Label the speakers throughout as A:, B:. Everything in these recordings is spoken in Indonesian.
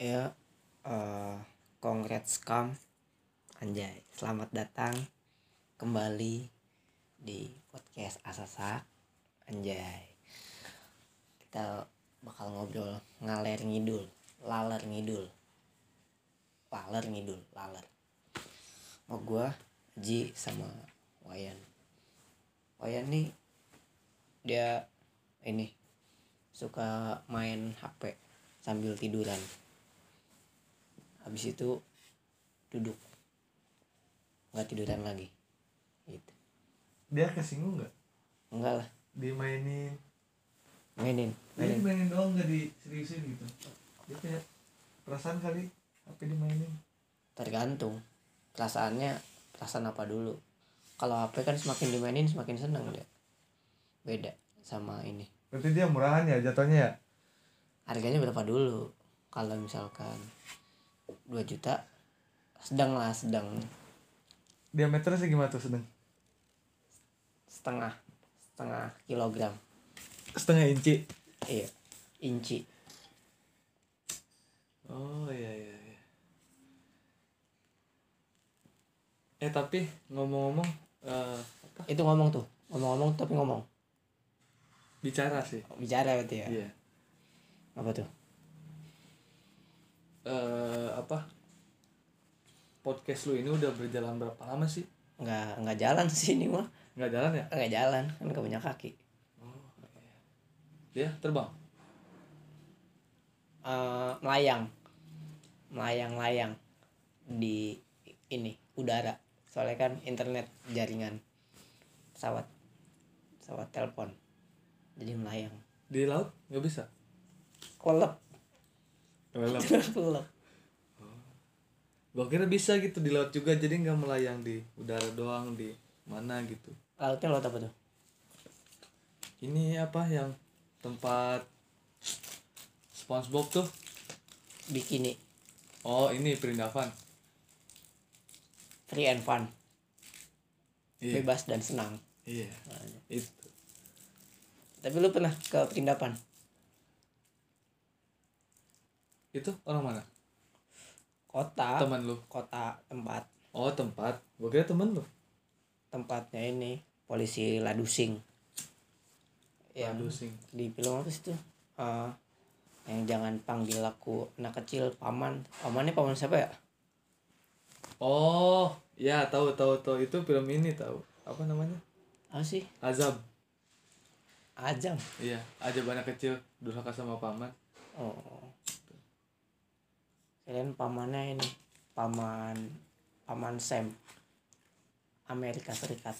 A: ya eh congrats come anjay selamat datang kembali di podcast asasa anjay kita bakal ngobrol ngaler ngidul laler ngidul laler ngidul laler mau gua Ji sama Wayan Wayan nih dia ini suka main HP sambil tiduran habis itu duduk nggak tiduran lagi gitu
B: dia kesinggung nggak
A: enggak lah
B: dimainin
A: mainin
B: dia
A: mainin
B: dimainin doang nggak diseriusin gitu dia kayak perasaan kali HP dimainin
A: tergantung perasaannya perasaan apa dulu kalau HP kan semakin dimainin semakin seneng dia beda sama ini
B: berarti dia murahan ya jatuhnya ya
A: harganya berapa dulu kalau misalkan 2 juta sedang lah sedang
B: diameternya segimana tuh sedang
A: setengah setengah kilogram
B: setengah inci
A: iya inci
B: oh iya iya iya eh tapi ngomong-ngomong eh, apa
A: itu ngomong tuh ngomong-ngomong tapi ngomong
B: bicara sih
A: bicara berarti ya
B: iya
A: apa tuh
B: Eh, apa podcast lu ini udah berjalan berapa lama sih
A: nggak nggak jalan sih ini mah
B: nggak jalan ya
A: nggak jalan kan nggak punya kaki
B: dia Iya, terbang
A: Eh, melayang melayang layang di ini udara soalnya kan internet jaringan pesawat pesawat telepon jadi melayang
B: di laut nggak bisa
A: kelelep
B: Lelep.
A: kelelep
B: Gua kira bisa gitu di laut juga jadi nggak melayang di udara doang di mana gitu.
A: lautnya laut apa tuh
B: Ini apa yang tempat SpongeBob tuh?
A: bikini
B: Oh ini Perindavan.
A: free and fun
B: Iya.
A: bebas dan senang
B: Iya. Itu.
A: tapi lu pernah ke perindapan
B: Itu orang mana?
A: kota
B: Teman lu.
A: kota tempat
B: Oh tempat. Gua kira temen lu.
A: tempatnya ini polisi ladusing Ya, yang
B: Aduh sing.
A: di film apa sih tuh Eh, yang jangan panggil aku anak kecil paman pamannya paman siapa ya
B: Oh ya tahu tahu tahu itu film ini tahu apa namanya?
A: apa sih
B: Azab.
A: ajam
B: Iya. Azab anak kecil durhaka sama paman.
A: oh kalian pamannya ini paman paman Sam Amerika Serikat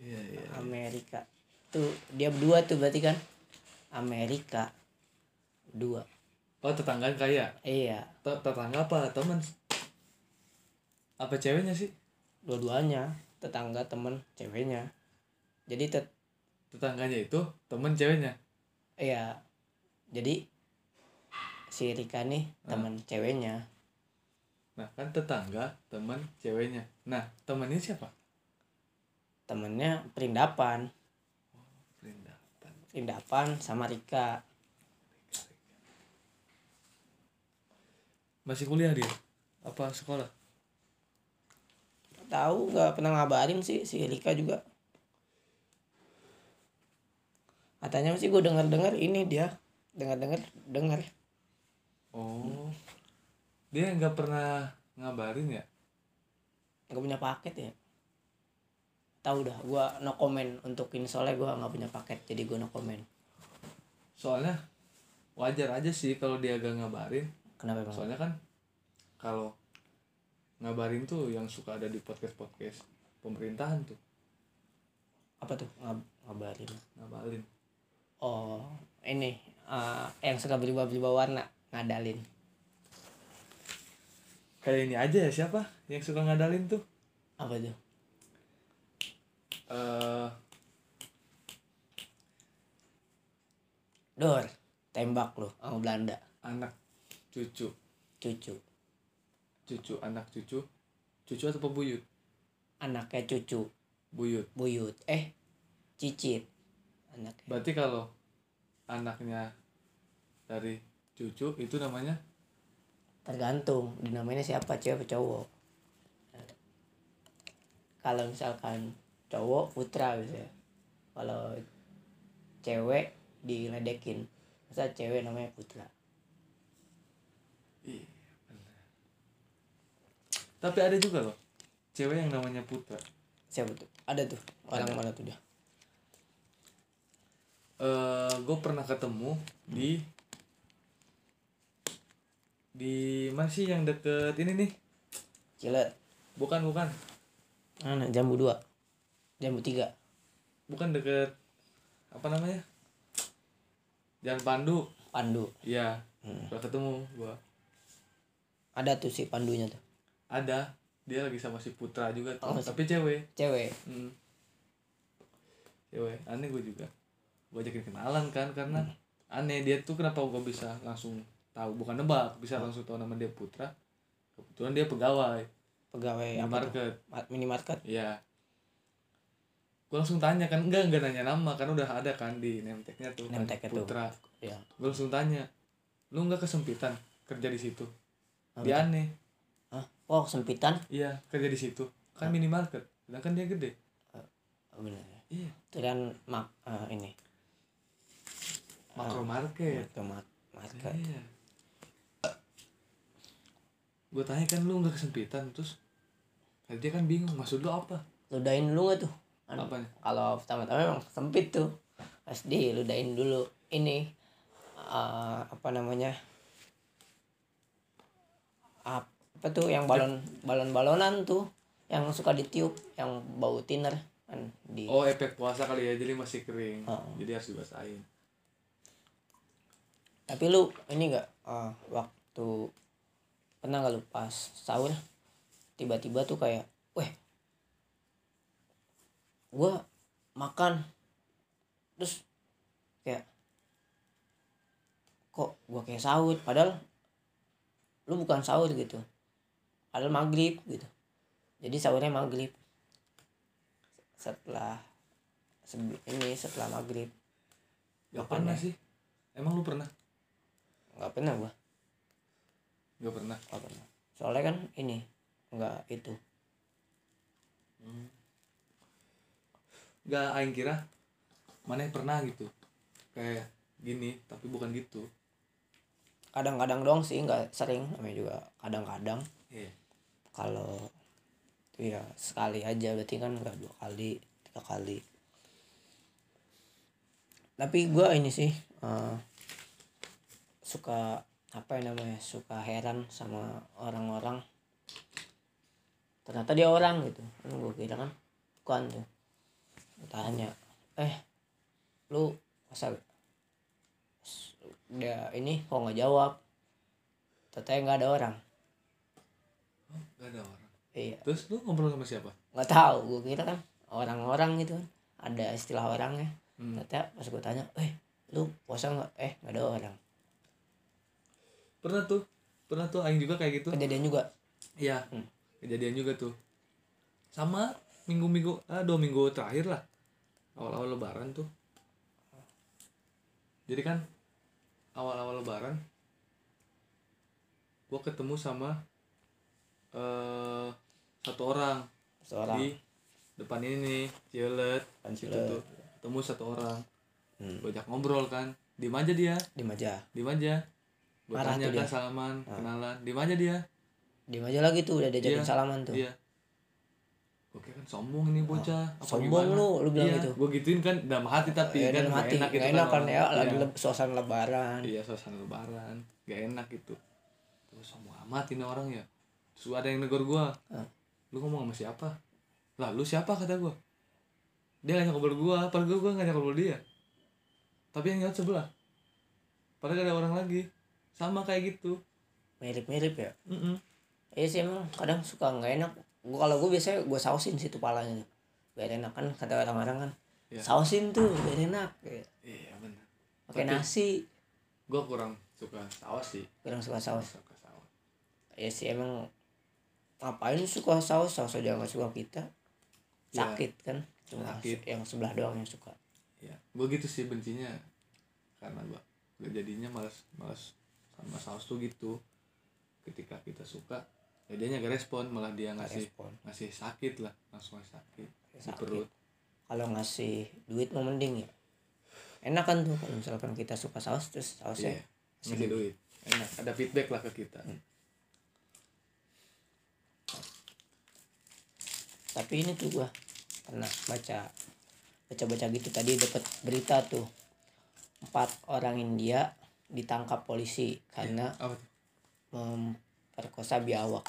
B: Iya iya.
A: Amerika tuh dia berdua tuh berarti kan Amerika dua
B: Oh tetanggaan kaya.
A: iya
B: Te- tetangga apa temen apa ceweknya sih
A: dua-duanya tetangga temen ceweknya jadi tet
B: tetangganya itu temen ceweknya
A: Iya. Jadi si Rika nih teman ceweknya
B: nah kan tetangga temen ceweknya nah temennya siapa
A: temennya perindapan
B: Linda Pan.
A: perindapan sama Rika
B: masih kuliah dia apa sekolah
A: tahu nggak pernah ngabarin sih si Rika juga katanya sih gue dengar dengar ini dia dengar dengar dengar
B: oh dia nggak pernah ngabarin ya
A: nggak punya paket ya tahu dah gue no comment untuk ini soalnya gue nggak punya paket jadi gue no comment
B: soalnya wajar aja sih kalau dia gak ngabarin
A: kenapa emang
B: soalnya kan kalau ngabarin tuh yang suka ada di podcast podcast pemerintahan tuh
A: apa tuh Ngab- ngabarin
B: ngabarin
A: Oh, ini eh, yang suka berubah-berubah warna ngadalin.
B: kayak ini aja ya siapa yang suka ngadalin tuh
A: Apa tuh?
B: eh
A: Dor, tembak lu sama Belanda.
B: anak cucu
A: Cucu.
B: cucu anak cucu cucu atau pebuyut
A: Anaknya cucu,
B: buyut
A: buyut. Eh, cicit. Anaknya.
B: berarti kalau anaknya dari cucu itu namanya
A: tergantung dinamainnya siapa cewek apa cowok kalau misalkan cowok putra bisa kalau cewek diledekin masa cewek namanya putra
B: tapi ada juga loh cewek yang namanya putra
A: siapa tuh ada tuh orang mana tuh dia
B: eh gue pernah ketemu di di masih yang deket ini nih
A: cilet
B: bukan bukan
A: mana jambu dua jambu tiga
B: bukan deket apa namanya Jalan Pandu
A: pandu Hmm.
B: iya udah ketemu gua
A: ada tuh si pandunya tuh
B: ada dia lagi sama si Putra juga tuh.
A: Oh, si-
B: tapi cewek
A: cewek
B: Hmm. Cewek, aneh gue juga. Gue ajakin kenalan kan karena
A: Hmm.
B: aneh dia tuh kenapa gue bisa langsung tahu bukan nebak bisa
A: Hmm.
B: langsung tahu nama dia Putra. Kebetulan dia pegawai
A: pegawai
B: di
A: Eh, apa tuh?
B: market.
A: Ma- minimarket
B: Iya. Gue langsung tanya kan enggak enggak nanya nama kan udah ada kan di name tag-nya tuh kan,
A: Name tag-nya tuh.
B: Putra.
A: ya
B: Gue langsung tanya, "Lu enggak kesempitan kerja di situ?"
A: Apa
B: Dia aneh.
A: Hah? oh sempitan
B: Iya, kerja di situ. Kan minimarket. Sedangkan dia gede.
A: oh, bener ya.
B: Iya,
A: itu kan mak eh, ini Ah.
B: makro market.
A: Itu mak- market
B: Iya. Gue tanya kan lu nggak kesempitan terus dia kan bingung maksud lu apa?
A: ludahin dulu gak tuh Kan
B: Apanya?
A: kalau pertama-tama emang sempit tuh pas diludahin dulu ini eh, apa namanya Ap- apa tuh yang balon balon balonan tuh yang suka ditiup yang bau thinner kan di
B: Oh efek puasa kali ya jadi masih kering
A: Heeh.
B: jadi harus dibasahin.
A: tapi lu ini enggak eh, waktu pernah gak lu pas sahur tiba-tiba tuh kayak weh gua makan terus kayak kok gua kayak sahur padahal lu bukan sahur gitu padahal maghrib gitu jadi sahurnya maghrib setelah sebelum ini setelah maghrib
B: Gak
A: Apanya?
B: pernah sih. Emang lu pernah?
A: nggak pernah gua
B: Gak pernah.
A: Nggak pernah. Soalnya kan ini nggak itu.
B: Gak aing kira mana yang pernah gitu kayak gini tapi bukan gitu.
A: Kadang-kadang doang sih nggak sering namanya juga kadang-kadang
B: Iya.
A: kalau itu ya sekali aja berarti kan nggak dua kali tiga kali tapi gua ini sih eh, suka apa ya namanya suka heran sama orang-orang ternyata dia orang gitu kan gue kira kan bukan tuh Gua tanya eh lu masa dia ini kok nggak jawab ternyata nggak ada orang
B: Gak ada orang.
A: iya
B: Terus lu ngobrol sama siapa?
A: nggak tahu gue kira kan orang-orang gitu kan ada istilah orangnya
B: Hmm.
A: ternyata pas gue tanya eh lu puasa nggak eh nggak ada orang
B: Pernah tuh pernah tuh aing juga kayak gitu.
A: kejadian juga
B: Iya.
A: Hmm.
B: Kejadian juga tuh. Sama minggu-minggu ah dua minggu terakhir lah. Awal-awal lebaran tuh. Jadi kan awal-awal lebaran gua ketemu sama eh satu orang
A: seorang
B: di depan ini nih, Cilet.
A: Depan
B: Situ
A: Cilet.
B: tuh. Ketemu satu orang.
A: Hmm.
B: Gua ajak ngobrol kan. Di aja dia,
A: di Maja
B: di aja. Gua
A: Marah
B: tanya
A: tuh
B: kan
A: dia.
B: salaman,
A: Ah.
B: kenalan. Di aja dia.
A: di Maja lagi tuh udah diajakin
B: Iya,
A: salaman tuh
B: Iya. Oke kan sombong nih bocah. Apa
A: Ah, sombong
B: gimana?
A: lu lu bilang
B: Iya,
A: gitu
B: Gue gituin kan dalam hati tapi
A: ya
B: kan
A: dalam
B: nggak
A: hati
B: enak
A: nggak
B: gitu
A: enak, kan ya lagi
B: Iya.
A: leb- suasana lebaran
B: Iya suasana lebaran, gak enak gitu. Terus sombong amat ini orang ya. Terus ada yang negor gua.
A: Hah.
B: Lu ngomong sama siapa? Lah lu siapa kata gua. Dia ngajak ngobrol gua, padahal gua, gua ngajak ngobrol dia. Tapi yang lewat sebelah. Padahal ada orang lagi. Sama kayak gitu.
A: mirip-mirip ya
B: Mm-mm.
A: iya sih emang kadang suka nggak enak gua kalau gue biasanya gue sausin situ palanya tuh. biar enak kan kata orang-orang kan
B: Iya.
A: sausin tuh biar enak kayak
B: Iya benar.
A: pakai
B: Tapi-
A: nasi
B: Gua kurang suka saus sih.
A: kurang suka saus
B: Suka saus.
A: ya sih emang ngapain suka saus saus aja nggak suka kita
B: Ya.
A: sakit kan cuma
B: Sakit.
A: yang sebelah doang yang suka
B: Iya. ya gue gitu sih bencinya karena gue jadinya malas malas sama saus tuh gitu ketika kita suka ya dia nggak respon malah dia ngasih
A: respon
B: ngasih sakit lah langsung ngasih sakit, di
A: Sakit.
B: perut
A: kalau ngasih duit mau mending ya enak kan tuh kalau misalkan kita suka saus terus sausnya
B: Iya, ngasih duit enak ada feedback lah ke kita
A: Hmm. tapi ini tuh gua pernah baca baca baca gitu tadi dapat berita tuh empat orang India ditangkap polisi karena
B: Iya. apa tuh
A: memperkosa biawak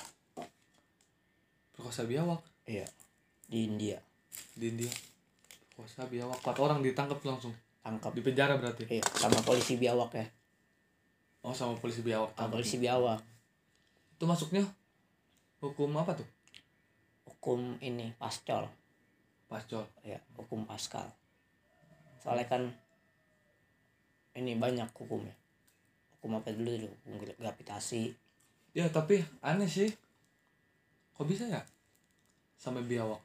B: perkosa biawak
A: iya di India
B: di India perkosa biawak empat orang ditangkap langsung
A: tangkap
B: di penjara berarti
A: iya sama polisi biawak ya
B: oh sama polisi biawak
A: sama
B: tangkap.
A: polisi biawak
B: itu masuknya hukum apa tuh
A: hukum ini pascol
B: pascol
A: ya hukum paskal soalnya kan ini banyak hukumnya hukum apa dulu dulu hukum gra- gravitasi
B: ya tapi aneh sih kok bisa ya sampai biawak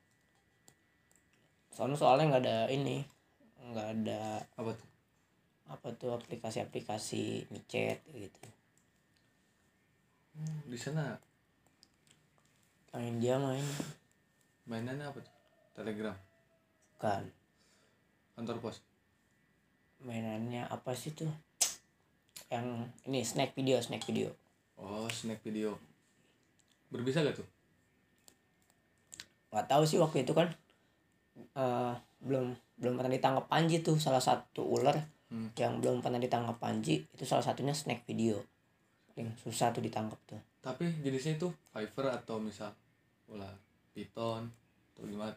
A: soalnya soalnya nggak ada ini nggak ada
B: apa tuh
A: apa tuh aplikasi-aplikasi micet gitu
B: di sana
A: orang India main
B: mainannya apa tuh telegram
A: bukan
B: kantor pos
A: mainannya apa sih tuh yang ini snack video snack video
B: oh snack video berbisa gak tuh
A: nggak tahu sih waktu itu kan eh, belum belum pernah ditangkap Panji tuh salah satu ular
B: Hmm.
A: yang belum pernah ditangkap Panji itu salah satunya snack video paling susah tuh ditangkap tuh
B: tapi jenisnya itu Fiverr atau misal ular piton atau gimana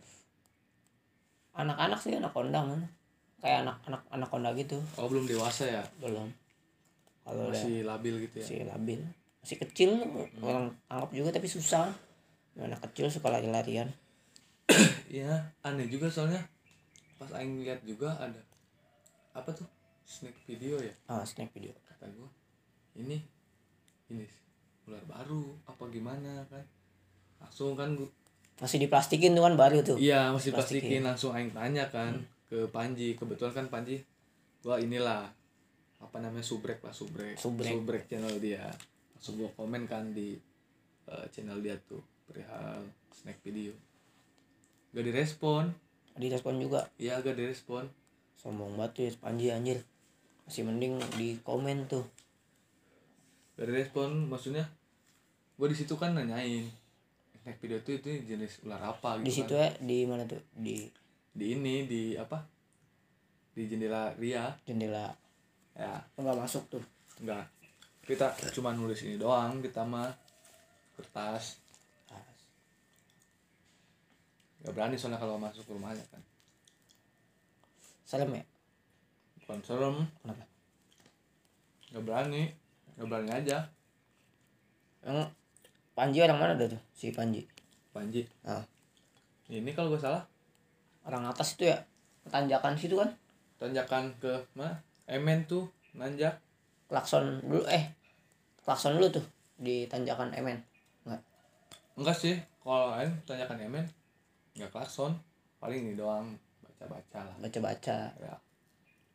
A: anak-anak sih anak kondangan kayak anak-anak anak konda gitu
B: oh belum dewasa ya
A: belum kalau udah
B: masih labil gitu ya
A: si labil masih kecil orang tangkap juga tapi susah anak kecil suka lari-larian
B: Iya, aneh juga soalnya pas aing lihat juga ada apa tuh snack video ya
A: ah snack video
B: kata gua ini ini ular baru apa gimana kan langsung kan gua
A: masih diplastikin tuh kan baru tuh Hmm.
B: iya masih
A: Plastikin.
B: plastikin langsung aing tanya kan ke Panji kebetulan kan Panji gua inilah apa namanya subrek lah subrek
A: Subrek.
B: channel dia langsung gua komen kan di eh, channel dia tuh perihal snack video gak direspon
A: direspon juga
B: iya gak direspon
A: sombong banget tuh ya si Panji anjir masih mending di komen tuh
B: dari respon maksudnya gue di situ kan nanyain snack video itu itu jenis ular apa
A: di
B: gitu
A: situ
B: kan
A: ya di mana tuh di
B: di ini di apa di jendela Ria
A: jendela
B: ya
A: nggak masuk tuh
B: enggak kita cuma nulis ini doang kita mah kertas
A: Ah,
B: nggak berani soalnya kalau masuk ke rumahnya kan
A: serem ya
B: bukan serem
A: kenapa
B: nggak berani nggak berani aja
A: emang Panji orang mana dah tuh si Panji
B: Panji
A: ah
B: ini kalau gue salah
A: orang atas itu ya tanjakan situ kan
B: tanjakan ke mana Emen tuh nanjak
A: klakson dulu eh klakson dulu tuh di tanjakan Emen nggak
B: Enggak sih, kalau lain tanyakan Emen Enggak klakson, paling ini doang baca-baca lah.
A: baca baca
B: Ya.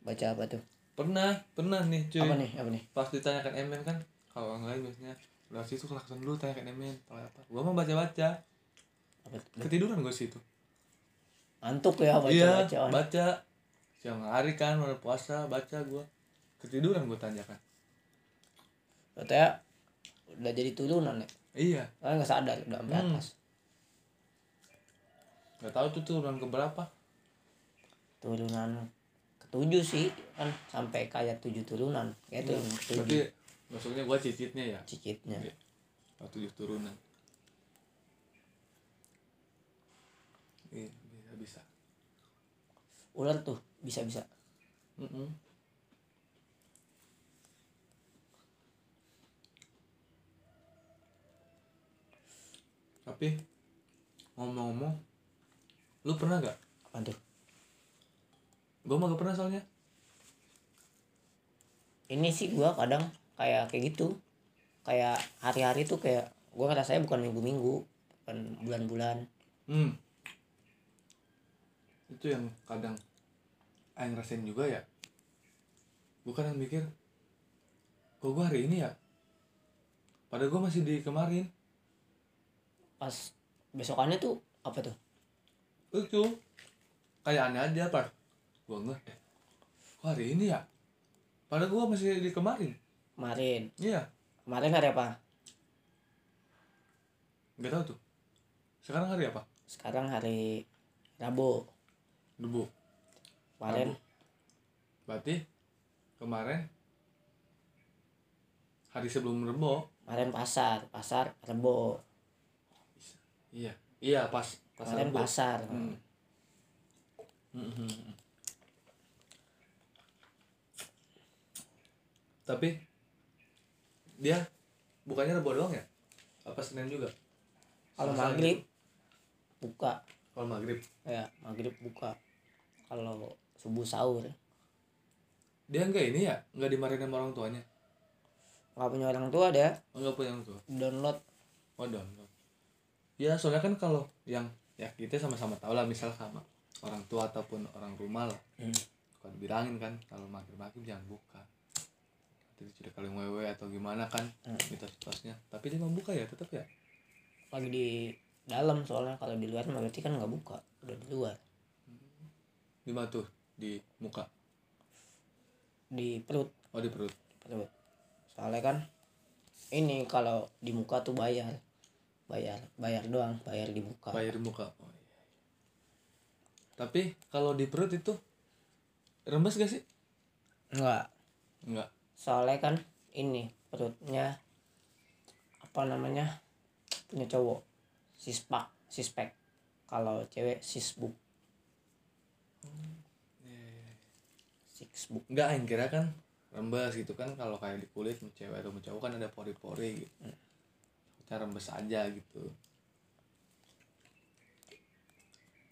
A: baca apa tuh
B: Pernah, pernah nih cuy.
A: apa nih apa nih
B: Pas ditanyakan Emen kan, kalau orang lain biasanya udah situ klakson dulu tanyakan Emen, tahu apa? Gua mah baca-baca,
A: apa tuh?
B: ketiduran gua situ.
A: ngantuk ya baca
B: iya,
A: baca
B: baca. Siang hari kan udah puasa, baca gua. Ketiduran gua tanyakan.
A: katanya udah jadi turunan ya
B: Iya,
A: orang nggak sadar udah sampai
B: Hmm.
A: atas
B: nggak tahu tuh turunan ke berapa.
A: turunan ketujuh sih kan sampai kayak tujuh turunan kayak turunan ketujuh
B: Iya. Berarti maksudnya gua cicitnya ya.
A: cicitnya
B: Iya. Oh, tujuh turunan. Iya, bisa bisa.
A: ular tuh bisa bisa
B: Mm-mm. Tapi ngomong-ngomong, lu pernah gak?
A: apa tuh
B: Gue mah gak pernah soalnya.
A: ini sih gua kadang kayak kayak gitu kayak hari-hari tuh kayak gua ngerasanya bukan minggu-minggu bukan bulan-bulan
B: Hmm. Itu yang kadang Aing ngerasain juga ya. Gue kadang mikir, kok gue hari ini ya Padahal gue masih di kemarin.
A: pas besokannya tuh apa tuh
B: Lucu. Kayak aneh aja, Par. Gue enggak. Eh, kok hari ini ya? Padahal gue masih di kemarin.
A: kemarin
B: Iya.
A: kemarin hari apa
B: Gak tahu tuh. Sekarang hari apa?
A: sekarang hari Rabu
B: Debu.
A: kemarin
B: Berarti kemarin hari sebelum Rebo.
A: kemarin pasar pasar Rebo
B: Iya. Iya, pas. Pas
A: kemarin
B: Rebo.
A: pasar
B: Hmm. Mhm. Tapi dia bukannya Rebo doang ya? Apa Senin juga?
A: kalau
B: Selasa
A: maghrib
B: gitu.
A: buka
B: Kalau maghrib.
A: ya maghrib buka kalau subuh sahur
B: Dia enggak ini ya? Enggak dimarahin sama orang tuanya?
A: nggak punya orang tua ada
B: Enggak punya orang tua?
A: download
B: Oh download. Ya soalnya kan kalau yang ya kita sama-sama tahu lah misal sama orang tua ataupun orang rumah lah.
A: Hmm.
B: Bukan bilangin kan kalau maghrib-maghrib jangan buka. Jadi sudah kali wewe atau gimana kan
A: Hmm.
B: mitos-mitosnya. Tapi dia mau buka ya tetap ya.
A: lagi di dalam soalnya kalau di luar mah berarti kan nggak buka udah di luar
B: Di mana tuh? Di muka.
A: di perut
B: Oh di perut.
A: perut soalnya kan ini kalau di muka tuh bayar bayar bayar doang bayar di muka
B: Bayar di muka. Oh, iya. Tapi kalau di perut itu rembes gak sih?
A: enggak
B: Enggak.
A: soalnya kan ini perutnya apa namanya punya cowok sispak sispek kalau cewek sisbuk sixbuk
B: Enggak, yang kira kan rembes gitu kan kalau kayak di kulit mau cewek atau mau cowok kan ada pori-pori gitu. Kita rembes aja gitu.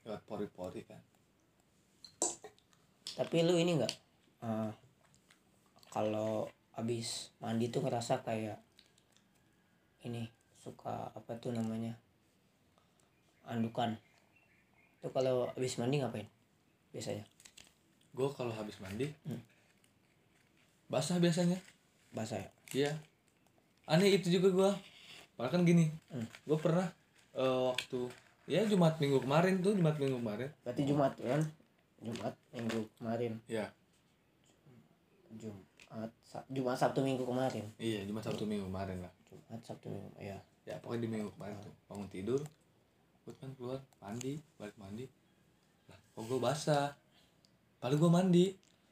B: Lewat pori-pori kan.
A: tapi lu ini enggak eh, kalau abis mandi tuh ngerasa kayak ini suka apa tuh namanya andukan itu kalau abis mandi ngapain biasanya
B: Gue kalau habis mandi
A: Hmm.
B: basah biasanya.
A: bahasa ya
B: Iya. Aneh itu juga gua. Malah kan gini.
A: Hmm.
B: Gue pernah eh, waktu ya Jumat minggu kemarin tuh Jumat minggu kemarin.
A: berarti jumat kan jumat minggu kemarin
B: Iya.
A: Jumat Sa- Jumat Sabtu Minggu kemarin
B: Iya, Jumat Sabtu minggu kemarin lah.
A: Jumat Sabtu Minggu ya
B: ya pokoknya di minggu kemarin tuh bangun tidur gue kan keluar mandi balik mandi lah kok gue basah paling gue mandi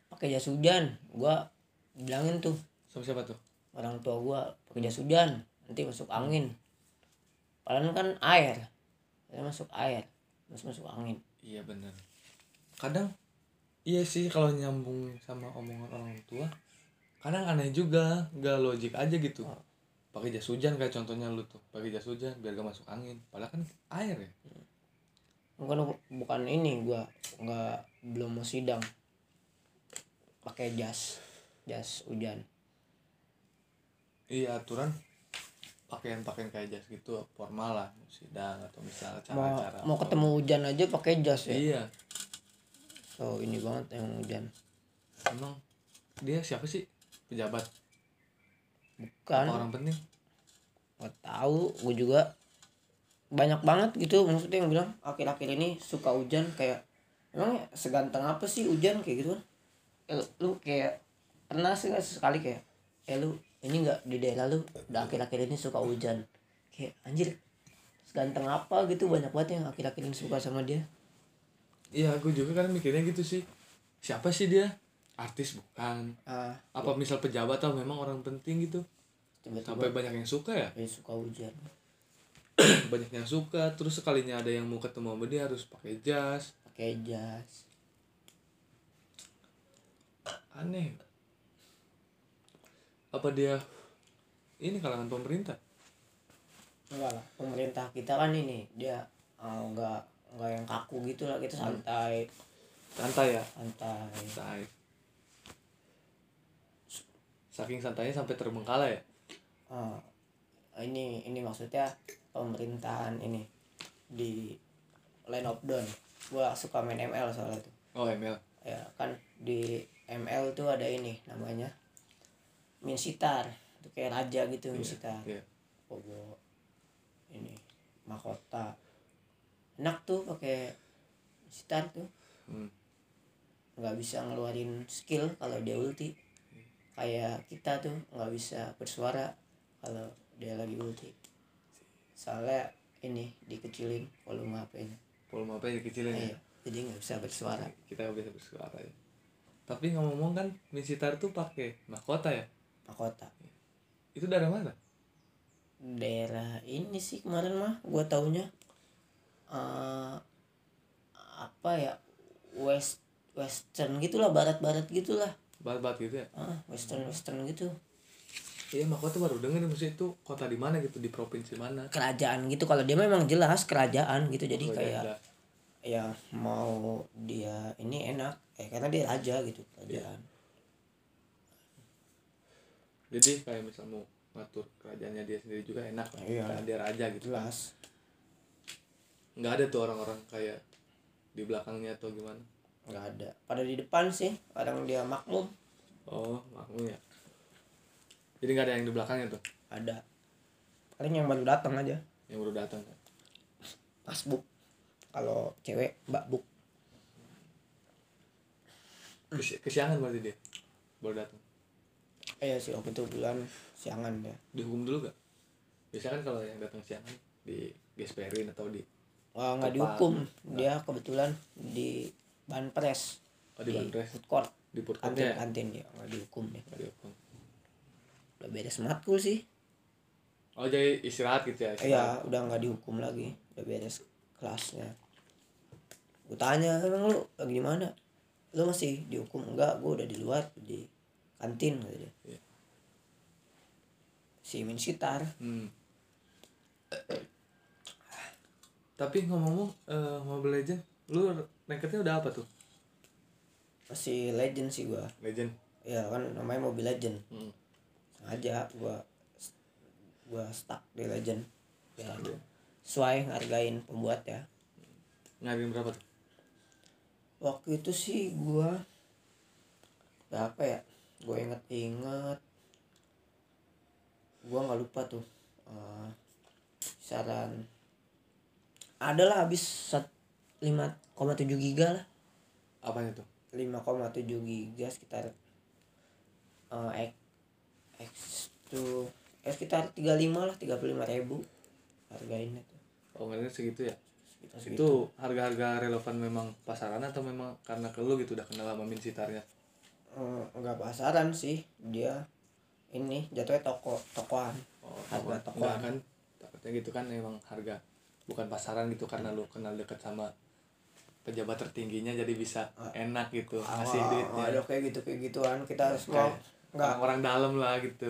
A: pakai jas hujan gua bilangin tuh
B: sama siapa tuh
A: orang tua gua pakai jas hujan nanti masuk angin padahal kan air Padahal masuk air terus masuk angin
B: iya bener kadang iya sih kalau nyambung sama omongan orang tua kadang aneh juga nggak logik aja gitu pakai jas hujan kayak contohnya lu tuh pakai jas hujan biar gak masuk angin padahal kan air ya
A: bukan bukan ini gua nggak belum mau sidang pakai jas jas hujan
B: iya aturan pakaian-pakaian kayak jas gitu formal lah sidang atau misalnya
A: mau
B: acara-acara
A: mau ketemu hujan aja pakai jas ya
B: iya
A: so ini banget yang hujan
B: Emang dia siapa sih? Pejabat
A: bukan
B: apa orang penting?
A: nggak tahu gue juga banyak banget gitu maksudnya yang bilang akhir-akhir ini suka hujan kayak emang seganteng apa sih hujan kayak gitu kan Eh, lu kayak pernah sih nggak sekali kayak eh lu ini nggak di daerah lu udah akhir-akhir ini suka hujan kayak anjir seganteng apa gitu banyak banget yang akhir-akhir ini suka sama dia
B: Iya, aku juga kan mikirnya gitu sih. Siapa sih dia? Artis bukan?
A: ah
B: Apa misal pejabat atau memang orang penting gitu? Sampai
A: tiba-tiba
B: banyak yang suka ya?
A: dia suka hujan
B: banyak yang suka, terus sekalinya ada yang mau ketemu sama dia harus pakai jas.
A: pakai jas
B: Aneh. Apa dia ini kalangan pemerintah?
A: enggak lah pemerintah kita kan ini dia ah, enggak enggak yang kaku gitu lah kita santai
B: Santai ya?
A: santai
B: Santai. Saking santainya sampai terbengkalai ya?
A: Ah, ini ini maksudnya pemerintahan ini di line of down gua suka main ML soalnya tuh
B: Oh, Emil.
A: ya kan di ML tuh ada ini namanya Minsitar itu kayak raja gitu Minsitar
B: Iya.
A: bobo ini mahkota enak tuh pakai sitar tuh
B: Hmm.
A: nggak bisa ngeluarin skill kalau dia ulti kayak kita tuh nggak bisa bersuara kalau dia lagi ulti soalnya ini dikecilin volume HP-nya
B: volume HP dikecilin ya
A: Iya, jadi nggak bisa bersuara
B: kita nggak bisa bersuara ya tapi ngomong-ngomong kan Misitar tuh pakai mahkota ya
A: mahkota
B: itu dari mana
A: daerah ini sih kemarin mah gua taunya eh apa ya west western gitulah barat-barat gitulah
B: bat-bat gitu ya
A: ah western western gitu
B: iya mahkota baru denger maksudnya itu kota di mana gitu di provinsi mana
A: kerajaan gitu kalau dia memang jelas kerajaan gitu jadi
B: Kalau
A: kayak
B: daerah.
A: ya mau dia ini enak eh karena dia raja gitu kerajaan
B: jadi kayak misal mau ngatur kerajaannya dia sendiri juga enak lah
A: Iya.
B: Karena dia raja gitu
A: jelas
B: nggak ada tuh orang-orang kayak di belakangnya atau gimana
A: nggak ada pada di depan sih kadang dia makmum
B: oh makmum ya jadi nggak ada yang di belakangnya tuh
A: ada paling yang baru datang aja
B: yang baru datang kan
A: mas buk kalau cewek mbak buk Hmm.
B: Kes- kesiangan berarti dia baru datang
A: eh sih waktu itu bulan siangan ya
B: dihukum dulu gak biasanya kan kalau yang datang siangan di gesperin atau di
A: wah nggak
B: Tepat.
A: dihukum dia kebetulan di ban pres
B: oh, di bandres
A: food court
B: di food court
A: kantin
B: ya
A: kantin dia nggak dihukum ya
B: Nggak dihukum.
A: udah beres matkul sih
B: oh jadi istirahat gitu ya
A: Iya, udah nggak dihukum lagi, udah beres kelasnya. Gue tanya, emang lu lagi di mana? Lu masih dihukum? Enggak, gue udah di luar di kantin kata dia.
B: Iya.
A: Si main sitar,
B: Hmm. tapi ngomong-ngomong eh, Mobile Legend lu ranketnya udah apa tuh
A: masih legend sih gua.
B: Legend
A: Ya kan namanya Mobile Legend.
B: hmm.
A: Sengaja gua gua stuck di legend. Ya.
B: Stuck ya.
A: Sesuai hargain pembuat ya.
B: Ngarin berapa tuh
A: waktu itu sih gua berapa ya gue inget-inget gua nggak lupa tuh Eh, saran adalah habis sat- 5,7 giga lah
B: apanya tuh
A: 5,7 giga sekitar eh X, X tuh eh, sekitar 35 lah 35 ribu hargainnya tuh
B: oh ngarinnya segitu ya
A: sekitar
B: itu
A: segitu.
B: harga-harga relevan memang pasaran atau memang karena ke lu gitu udah kenal sama min sitarnya
A: Eh, nggak pasaran sih dia ini jatuhnya toko tokoan
B: oh,
A: Harga
B: takut-
A: tokoan.
B: enggak kan takutnya gitu kan emang harga bukan pasaran gitu karena lu kenal deket sama pejabat tertingginya jadi bisa enak gitu kasih
A: Wah,
B: duitnya
A: Ah, Ada kayak gitu kayak gituan kita harus mau
B: Kayak
A: nggak
B: orang-orang dalam lah gitu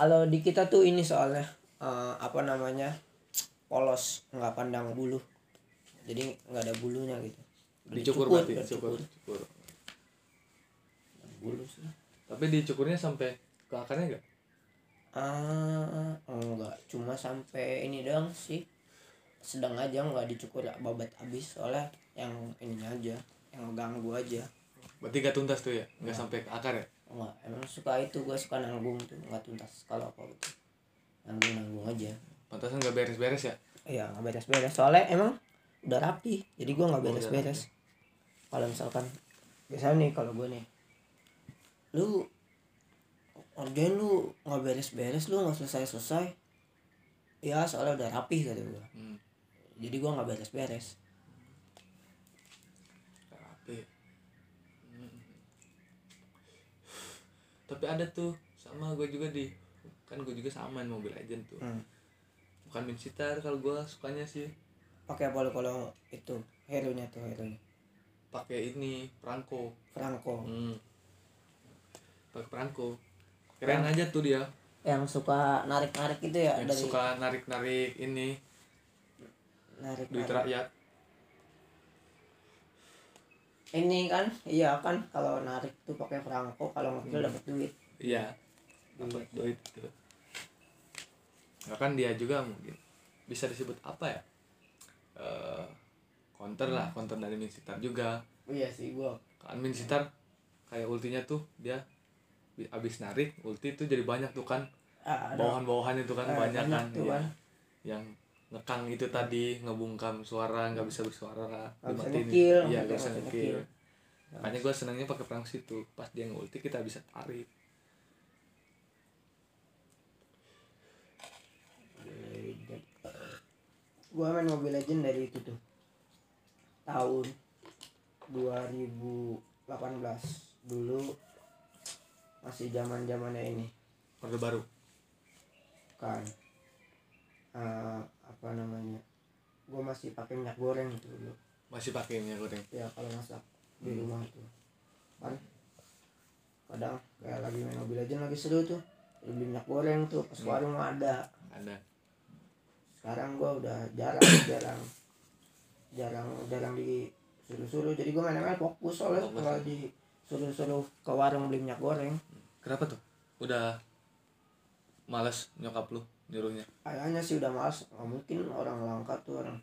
A: kalau di kita tuh ini soalnya eh, apa namanya polos nggak pandang bulu jadi nggak ada bulunya gitu
B: dicukur
A: Dicukut,
B: berarti
A: dicukur.
B: dicukur cukur.
A: bulu sih
B: tapi dicukurnya sampai ke akarnya enggak
A: ah enggak cuma sampai ini doang sih sedang aja nggak dicukur babat abis soalnya yang ininya aja yang ganggu aja
B: berarti gak tuntas tuh ya nggak sampai ke akar ya
A: Enggak, emang suka itu gue suka nanggung tuh nggak tuntas kalau apa gitu nanggung nanggung aja
B: pantasan nggak beres-beres ya
A: Iya nggak beres-beres soalnya emang udah rapi jadi gua
B: Oh,
A: nggak beres-beres. Kalau misalkan biasanya nih kalau gue nih, lu kerjain lu nggak beres-beres lu nggak selesai-selesai. Ya soalnya udah rapi kata gua.
B: hmm.
A: Jadi gua nggak beres-beres.
B: Terapi. Hmm. Tapi ada tuh sama gue juga di kan gue juga sama main Mobile Legend tuh.
A: Hmm.
B: Bukan main sitar kalau gue sukanya sih
A: Pakai apa lu kalau itu hero nya tuh hero nya
B: pakai ini perangko.
A: Franco
B: Hmm. Pakai perangko. Keren aja tuh dia
A: yang suka narik-narik gitu ya
B: yang
A: dari
B: suka narik-narik ini
A: narik,
B: duit rakyat.
A: ini kan iya kan kalau narik tuh pakai Franco kalau
B: Hmm.
A: ngekill dapat duit
B: Iya. Dapat duit itu. Nah, kan gitu. dia juga mungkin bisa disebut apa ya? Eh counter lah, counter dari main sitar juga.
A: iya sih gua
B: kan Min Sitar kayak ultinya tuh dia bi- abis narik ulti tuh jadi banyak tuh kan
A: Ah, ada
B: bawahan-bawahan itu kan
A: Eh,
B: banyak,
A: banyak
B: kan
A: tuh
B: iya.
A: kan.
B: yang ngekang itu tadi ngebungkam suara nggak bisa bersuara lah
A: Nggak bisa
B: dimatiin.
A: ngekil,
B: iya
A: maksudnya
B: nggak bisa
A: nggak bisa
B: ngekil
A: ngekil.
B: makanya gue senangnya pakai perang situ pas dia ngulti kita bisa tarik
A: gua main Mobile Legend dari itu tuh tahun 2018 dulu masih zaman zamannya ini
B: orde baru
A: kan Eh, apa namanya gua masih pakai minyak goreng itu dulu
B: masih pakai minyak goreng
A: ya kalau masak di rumah tuh kan kadang kayak lagi main Mobile Legend lagi seru tuh Lu beli minyak goreng tuh pas warung ada
B: ada
A: sekarang gua udah jarang jarang jarang jarang disuruh-suruh jadi gua main-main fokus soalnya
B: Fokus.
A: kalau disuruh-suruh ke warung beli minyak goreng
B: kenapa tuh udah malas nyokap lu nyuruhnya
A: kayaknya sih udah males nggak mungkin orang langka tuh orang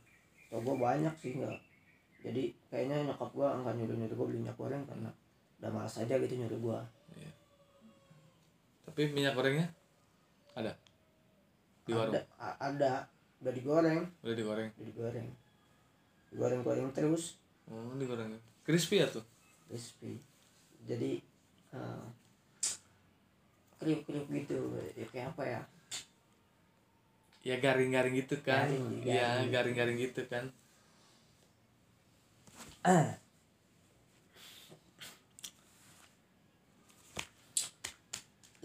A: tau gua banyak sih nggak jadi kayaknya nyokap gua nggak nyuruh nyuruh gua beli minyak goreng karena udah males aja gitu nyuruh gua
B: tapi minyak gorengnya ada di warung
A: ada, a- ada udah digoreng
B: udah digoreng
A: udah digoreng digoreng goreng terus
B: oh digoreng crispy ya tuh
A: crispy jadi eh kriuk kriuk gitu ya kayak apa ya
B: ya garing-garing gitu kan
A: Garing,
B: iya
A: garing.
B: garing-garing gitu kan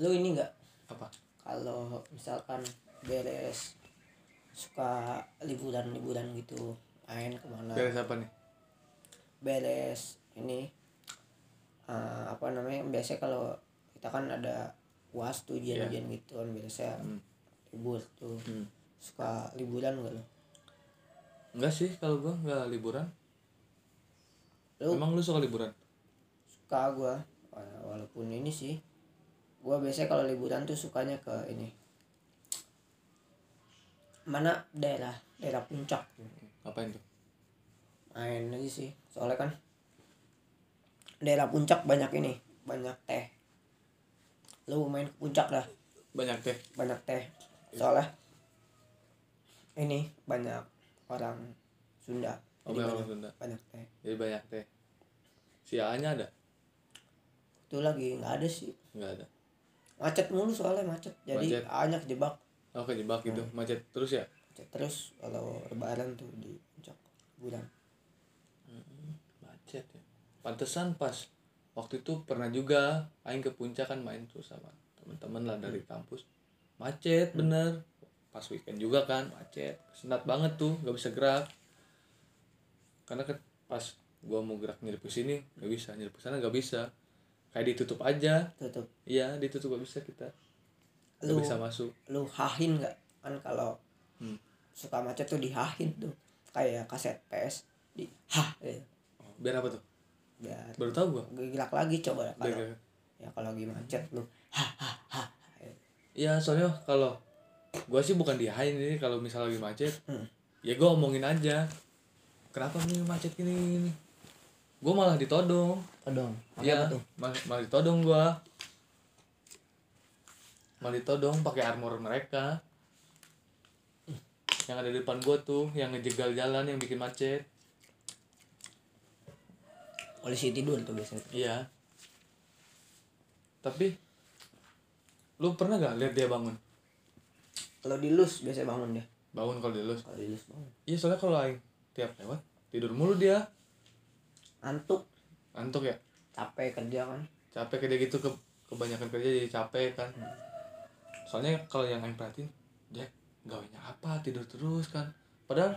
A: lu ini nggak
B: apa
A: kalau misalkan beres suka liburan-liburan gitu main kemana
B: beres apa nih
A: beres ini eh, apa namanya biasanya kalau kita kan ada uas tuh ujian-ujian gitu kan biasanya
B: Iya. Hmm.
A: libur tuh suka liburan gak lo
B: enggak sih kalau gua enggak liburan
A: Lu-
B: emang lu suka liburan
A: suka gua Wala- walaupun ini sih gua biasanya kalau liburan tuh sukanya ke ini mana daerah daerah puncak
B: ngapain tuh
A: main lagi sih soalnya kan daerah puncak banyak ini banyak teh lu main ke puncak dah
B: banyak teh
A: banyak teh soalnya ini banyak orang Sunda
B: Oh,
A: Jadi
B: banyak
A: banyak,
B: orang Sunda.
A: banyak teh
B: jadi banyak teh si A nya ada
A: itu lagi nggak ada sih
B: enggak ada
A: macet mulu soalnya macet jadi
B: Macet.
A: banyak jebak
B: oh kejebak gitu
A: Hmm.
B: macet terus ya
A: macet terus kalau lebaran tuh di puncak bulan
B: macet ya pantesan pas waktu itu pernah juga aing ke puncak kan main tuh sama teman-teman lah dari kampus macet bener pas weekend juga kan macet senat banget tuh nggak bisa gerak karena kan pas gua mau gerak nyelip ke sini nggak bisa nyelip ke sana nggak bisa kayak ditutup aja
A: tutup
B: iya ditutup gak bisa kita nggak
A: Lu-
B: bisa masuk
A: lu hahin nggak kan kalau
B: Hmm.
A: suka macet tuh dihahin tuh kayak kaset PS di hah gitu.
B: biar apa tuh
A: biar
B: baru tahu gua
A: gerak lagi coba ya
B: Biar
A: kalau
B: gerak.
A: ya kalau lagi macet lu hah hah hah gitu.
B: Iya soalnya kalau gua sih bukan dihain ini kalau misal lagi macet
A: Hmm.
B: ya gua omongin aja kenapa nih macet gini gini, gini? Gua malah ditodong
A: Odong.
B: Iya mal- malah ditodong gua malah ditodong pakai armor mereka yang ada di depan gua tuh yang ngejegal jalan yang bikin macet
A: polisi tidur tuh biasanya
B: iya tapi lu pernah gak lihat dia bangun
A: kalau di lus biasanya bangun dia
B: bangun kalau dia lulus
A: kalau di lus bangun
B: iya soalnya kalau aing tiap lewat tidur mulu dia
A: ngantuk
B: ngantuk ya
A: capek kerja kan
B: capek kerja gitu ke kebanyakan kerja jadi capek kan soalnya kalau yang aing perhatiin dia gawainya apa tidur terus kan padahal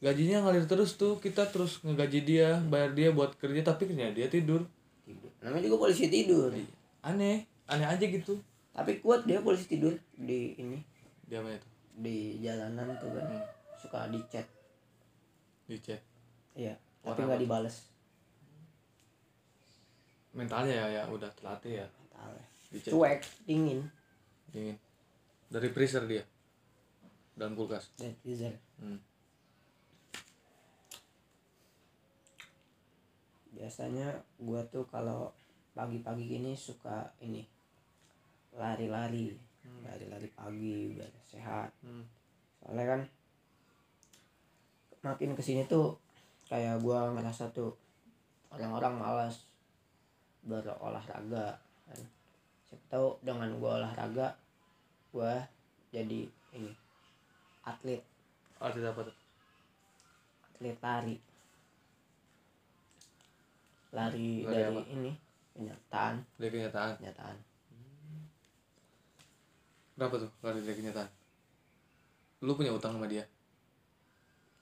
B: gajinya ngalir terus tuh kita terus ngegaji dia bayar dia buat kerja tapi ternyata dia tidur
A: tidur namanya juga polisi tidur
B: Iya. aneh aneh aja gitu
A: tapi kuat dia polisi tidur di ini
B: dia main tuh
A: di jalanan tuh kan
B: Hmm.
A: suka di chat
B: di chat
A: iya tapi
B: Orang
A: nggak
B: apa?
A: dibales
B: mentalnya ya ya udah terlatih ya
A: Mental ya.
B: di chat
A: cuek dingin
B: dingin dari freezer dia dan kulkas
A: dan freezer
B: Hmm.
A: biasanya gua tuh kalau pagi-pagi gini suka ini lari-lari
B: Hmm.
A: lari lari pagi biar sehat
B: Hmm.
A: soalnya kan makin kesini tuh kayak gua ngerasa tuh orang-orang malas berolahraga kan siapa tahu dengan gua olahraga gua jadi ini atlet
B: Artinya apa tuh?
A: atlet lari lari
B: Lari
A: dari
B: apa?
A: ini kenyataan
B: Dari kenyataan.
A: kenyataan
B: Berapa tuh lari dari kenyataan? Lu punya utang sama dia?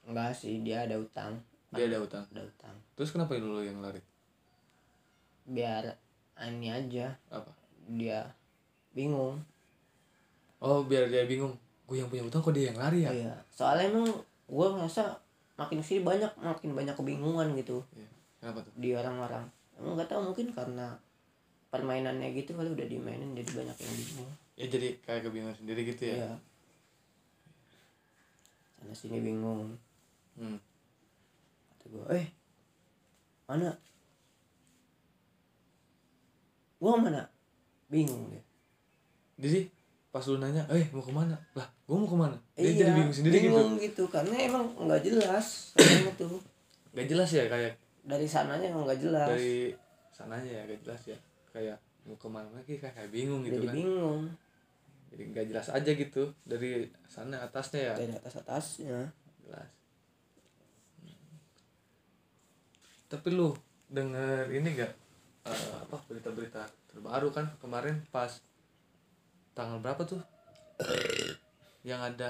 A: enggak sih dia ada utang
B: Dia ada utang.
A: ada utang
B: Terus kenapa lu yang lari?
A: biar ini aja
B: Apa?
A: dia bingung
B: Oh, biar dia bingung. Gue yang punya utang kok dia yang lari ya?
A: Iya. Soalnya emang gue ngerasa makin kesini banyak makin banyak kebingungan gitu
B: Iya. Kenapa tuh?
A: di orang-orang. Emang gak tahu mungkin karena permainannya gitu kali udah dimainin jadi banyak yang bingung.
B: Ya jadi kayak kebingungan sendiri gitu ya.
A: Iya. Sana sini bingung.
B: Hmm.
A: Kata gue, eh mana? Gua mana? Bingung dia.
B: Jadi pas lu nanya, "Eh, mau kemana?" Lah, gue mau kemana? Dia jadi bingung sendiri gitu.
A: Iya, bingung gitu. karena emang nggak jelas soalnya tuh
B: Gak jelas ya kayak
A: dari sananya emang nggak jelas
B: dari sananya ya gak jelas ya. Kayak mau kemana lagi kayak, kayak bingung gitu
A: jadi
B: kan.
A: bingung
B: Jadi gak jelas aja gitu dari sana atasnya ya.
A: dari atas atasnya
B: Jelas. Tapi lu denger ini gak eh, apa berita-berita terbaru kan kemarin pas tanggal berapa tuh? Yang ada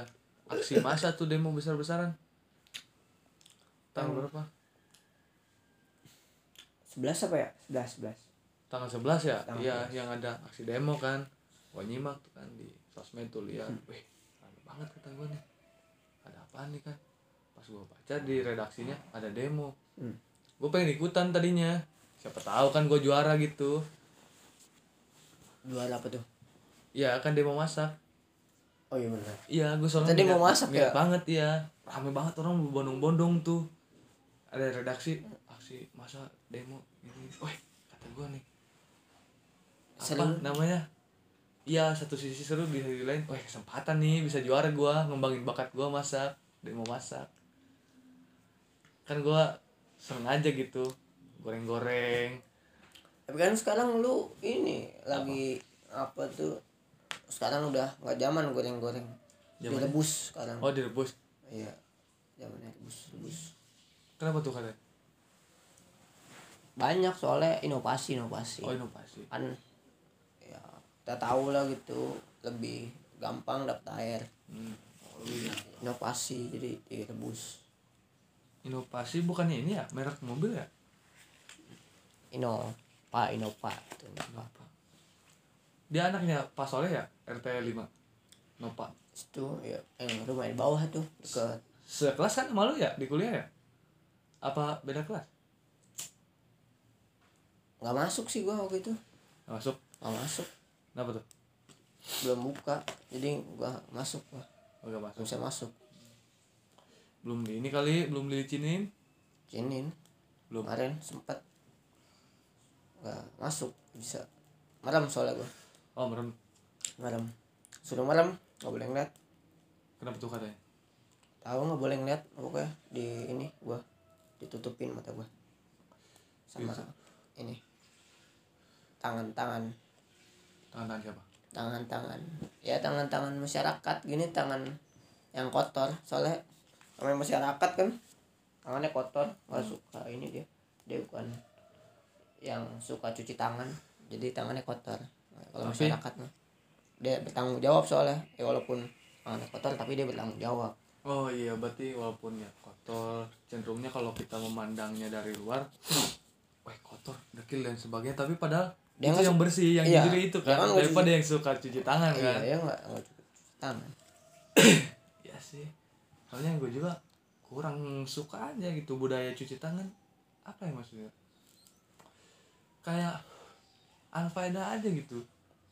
B: aksi massa tuh demo besar-besaran. Tanggal berapa?
A: sebelas apa ya sebelas sebelas
B: Tanggal 11 ya?
A: Tanggal
B: Iya, yang ada aksi demo kan. Gua nyimak tuh kan di sosmed tuh lihat,
A: Hmm.
B: wih, rame banget kata gua nih. Ada apaan nih kan? Pas gua baca di redaksinya ada demo.
A: hmm.
B: gue pengen ikutan tadinya siapa tahu kan gue juara gitu
A: juara apa tuh
B: ya kan demo masak
A: oh iya benar
B: iya gue soalnya
A: Tadi
B: ngeliat-
A: mau masak
B: ngeliat
A: ya?
B: banget ya rame banget orang berbondong-bondong tuh ada redaksi aksi masa demo ini wah kata gue nih apa
A: Seru.
B: namanya iya satu sisi seru di sisi lain wah kesempatan nih bisa juara gue ngembangin bakat gue masak demo masak kan gue sengaja gitu goreng-goreng
A: tapi kan sekarang lu ini lagi apa tuh sekarang udah nggak zaman goreng goreng
B: Zamannya?
A: direbus sekarang
B: oh direbus
A: iya zamannya rebus rebus
B: Kenapa tuh katanya?
A: banyak soalnya inovasi inovasi
B: Oh inovasi.
A: kan ya kita tahu lah gitu lebih gampang dapet air
B: Hmm.
A: inovasi jadi direbus
B: Inovasi bukannya ini ya merek mobil ya?
A: Innova Innova itu
B: Nova. Dia anaknya Pak Soleh ya RT 5 Nova.
A: itu ya eh, rumah di bawah tuh deket
B: Sekelas kan malu ya di kuliah ya? Apa beda kelas?
A: nggak masuk sih gua waktu itu
B: Nggak masuk.
A: nggak masuk
B: Kenapa tuh?
A: belum buka jadi gua masuk gua
B: Oh, nggak
A: belum
B: masuk.
A: bisa masuk
B: Belum di ini kali, belum dilicinin.
A: Jinin
B: Belum.
A: kemarin sempet nggak masuk bisa merem soalnya gua
B: Oh merem.
A: merem suruh merem nggak boleh ngeliat
B: Kenapa tuh katanya?
A: tahu nggak boleh ngeliat pokoknya di ini gua ditutupin mata gua sama
B: Gitu.
A: ini tangan-tangan
B: Tangan-tangan siapa?
A: tangan-tangan ya tangan-tangan masyarakat gini tangan yang kotor soalnya namanya masyarakat kan tangannya kotor
B: Hmm.
A: nggak suka ini dia dia bukan yang suka cuci tangan jadi tangannya kotor Nah, kalau
B: Tapi-
A: masyarakat mah dia bertanggung jawab soalnya ya walaupun tangannya kotor tapi dia bertanggung jawab
B: Oh iya berarti walaupun ya kotor cenderungnya kalau kita memandangnya dari luar, wah kotor, dekil dan sebagainya. Tapi padahal
A: Dia
B: itu
A: nggak
B: yang bersih, yang
A: Iya,
B: jujur itu
A: dia
B: kan
A: kan nggak
B: daripada yang suka cuci tangan kan.
A: iya ya nggak nggak cuci tangan
B: Ya sih, soalnya gue juga kurang suka aja gitu budaya cuci tangan. Apa ya maksudnya? Kayak anfaedah aja gitu.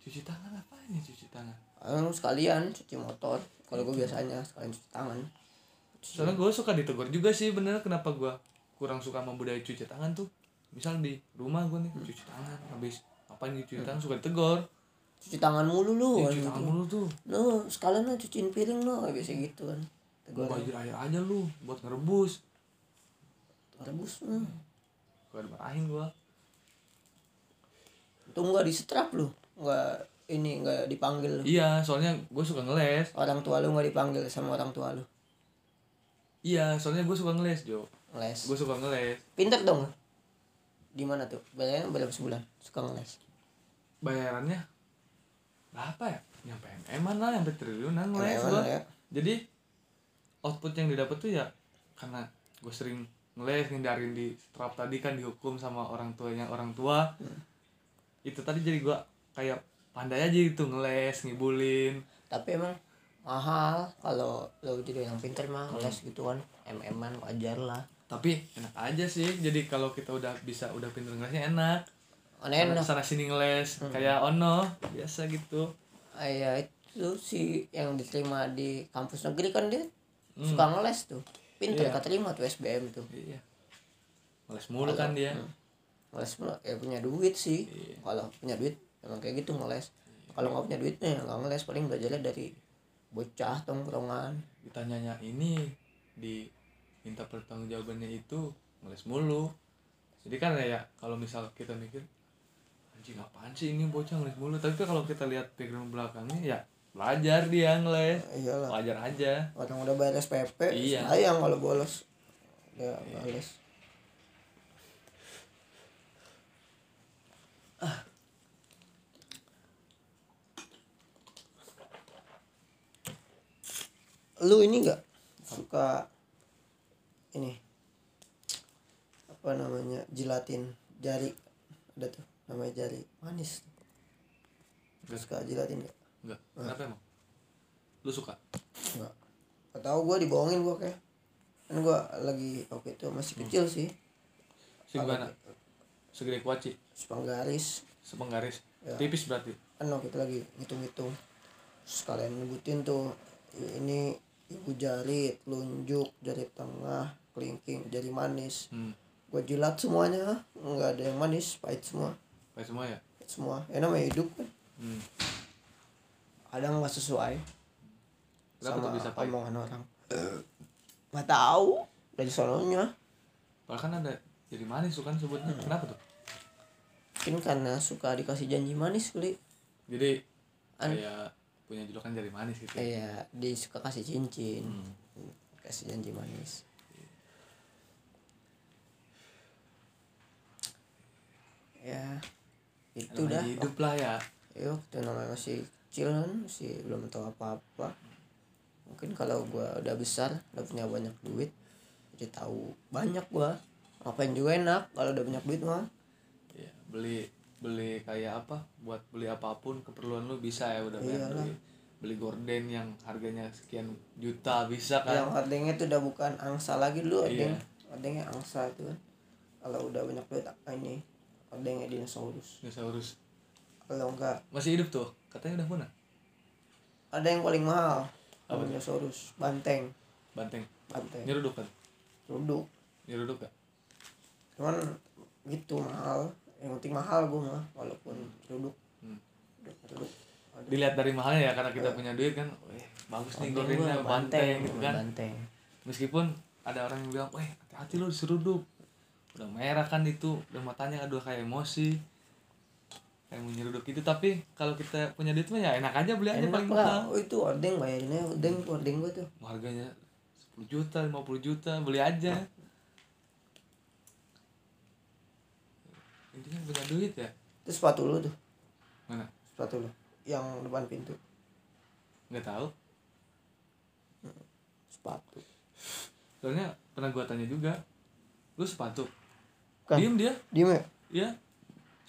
B: Cuci tangan apaan ya cuci tangan?
A: Ayo lu sekalian cuci motor kalau
B: Gitu.
A: gue biasanya sekalian cuci tangan
B: soalnya gue suka ditegur juga sih bener kenapa gue kurang suka sama budaya cuci tangan gitu tuh misal di rumah gue nih cuci tangan habis apa nih cuci tangan suka ditegur
A: cuci tangan mulu lu
B: Ya,
A: kan
B: cuci
A: gitu.
B: tangan mulu tuh
A: Lu sekalian lah cuciin piring lu kayak biasa gitu kan
B: Gua
A: tegur
B: air air aja lu buat ngerebus
A: rebus hmm.
B: gua dimarahin gua
A: itu nggak di strap lu nggak ini nggak dipanggil lu.
B: iya soalnya gua suka ngeles
A: orang tua lu nggak dipanggil sama orang tua lu
B: iya soalnya gua suka ngeles Jo
A: les
B: gua suka ngeles
A: pinter dong lu. di mana tuh bayarnya berapa sebulan suka ngeles
B: bayarannya berapa ya nyampe eman lah nyampe triliunan ngeles
A: Emang
B: gua
A: ya
B: jadi output yang didapat tuh ya karena gue sering ngeles ngindarin di strap tadi kan dihukum sama orang tuanya orang tua
A: Hmm.
B: itu tadi jadi gua kayak pandai aja gitu ngeles ngibulin
A: tapi emang mahal kalau lo jadi orang pinter mah
B: Hmm.
A: les gitu kan mm-an wajar lah
B: tapi enak aja sih jadi kalau kita udah bisa udah pinter ngelesnya enak
A: aneh enak Hmm.
B: sana sini ngeles kayak ono biasa gitu
A: ya itu si yang diterima di kampus negeri kan dia suka ngeles tuh pinter
B: Hmm. Iya.
A: keterima tuh SBM tuh
B: iya ngeles mulu kan dia
A: Hmm. ngeles mah ya punya duit sih
B: Iya.
A: kalau punya duit emang kayak gitu ngeles kalau nggak punya duit nih nggak ngeles paling belajarnya dari bocah tongkrongan
B: ditanyanya ini di minta pertanggungjawabannya itu ngeles mulu jadi kan ya kalau misal kita mikir anjing apaan sih ini bocah ngeles mulu tapi kan kalau kita lihat background belakangnya ya belajar dia ngeles
A: iyalah
B: belajar aja
A: orang udah bayar SPP
B: Iya.
A: sayang kalau bolos ya ngeles Ah. lu ini nggak suka ini apa namanya gelatin jari ada tuh namanya jari manis
B: Nggak.
A: suka gelatin nggak
B: enggak kenapa emang lu suka
A: Enggak. Gak tau gue dibohongin gue kayak. Kan gue lagi waktu itu masih
B: Hmm.
A: kecil sih.
B: segimana segede kuaci
A: Sepenggaris.
B: sepenggaris
A: Ya.
B: tipis berarti
A: Kan waktu itu lagi hitung-hitung. Terus kalian nyebutin tuh. Ini ibu jari, telunjuk, jari tengah, kelingking, jari manis.
B: hmm
A: Gue jilat semuanya. Enggak ada yang manis. Pahit semua.
B: kayak semua ya
A: Pahit semua. Ya namanya hidup kan.
B: hmm
A: Ada yang gak sesuai.
B: Kenapa
A: sama
B: tuh bisa pahit?
A: omongan orang. Gak tau. Dari sononya.
B: padahal kan ada jadi manis tuh kan sebutnya
A: Hmm.
B: kenapa tuh
A: Mungkin karena suka dikasih janji manis kali.
B: jadi
A: An-
B: kayak punya julukan jari manis gitu
A: Iya, dia suka kasih cincin. Kasih janji manis. Ya, itu
B: Namanya
A: dah. Oh.
B: hidup lah ya
A: Yuk, itu namanya masih kecil kan, masih belum tahu apa-apa. Mungkin kalau gua udah besar, udah punya banyak duit, jadi tahu banyak gua. Ngapain juga enak kalau udah banyak duit mah.
B: Iya, beli beli kayak apa buat beli apapun keperluan lu bisa ya udah banyak
A: Iyalah.
B: beli beli gorden yang harganya sekian juta bisa
A: Yang
B: kan
A: ordengnya itu udah bukan angsa lagi dulu ordeng.
B: Iya.
A: Ordengnya angsa itu kan. Kalau udah banyak duit ini ordengnya dinosaurus.
B: dinosaurus
A: kalau enggak
B: masih hidup tuh katanya udah punah
A: ada yang paling mahal
B: Apa?
A: dinosaurus banteng
B: banteng
A: banteng
B: nyeruduk kan
A: duduk
B: nyeruduk kan. gak
A: cuman gitu mahal yang penting mahal gue mah walaupun duduk
B: Hmm.
A: duduk
B: dilihat dari mahalnya ya karena kita punya duit kan weh bagus nih gordennya banteng gitu kan
A: Iya. banteng
B: meskipun ada orang yang bilang weh hati-hati lu diseruduk udah merah kan itu udah matanya aduh kayak emosi kayak mau nyeruduk itu tapi kalau kita punya duit mah ya enak aja beli aja
A: enak
B: paling mahal
A: lah oh, itu ordeng bayarinnya ordeng ordeng gue tuh
B: harganya 10 juta, 50 juta, beli aja. Intinya punya duit ya.
A: itu sepatu lu tuh
B: Mana?
A: sepatu lu yang depan pintu
B: Nggak tahu.
A: sepatu
B: Soalnya pernah gua tanya juga. Lu sepatu?
A: Bukan.
B: Diem dia?
A: diem ya
B: Iya.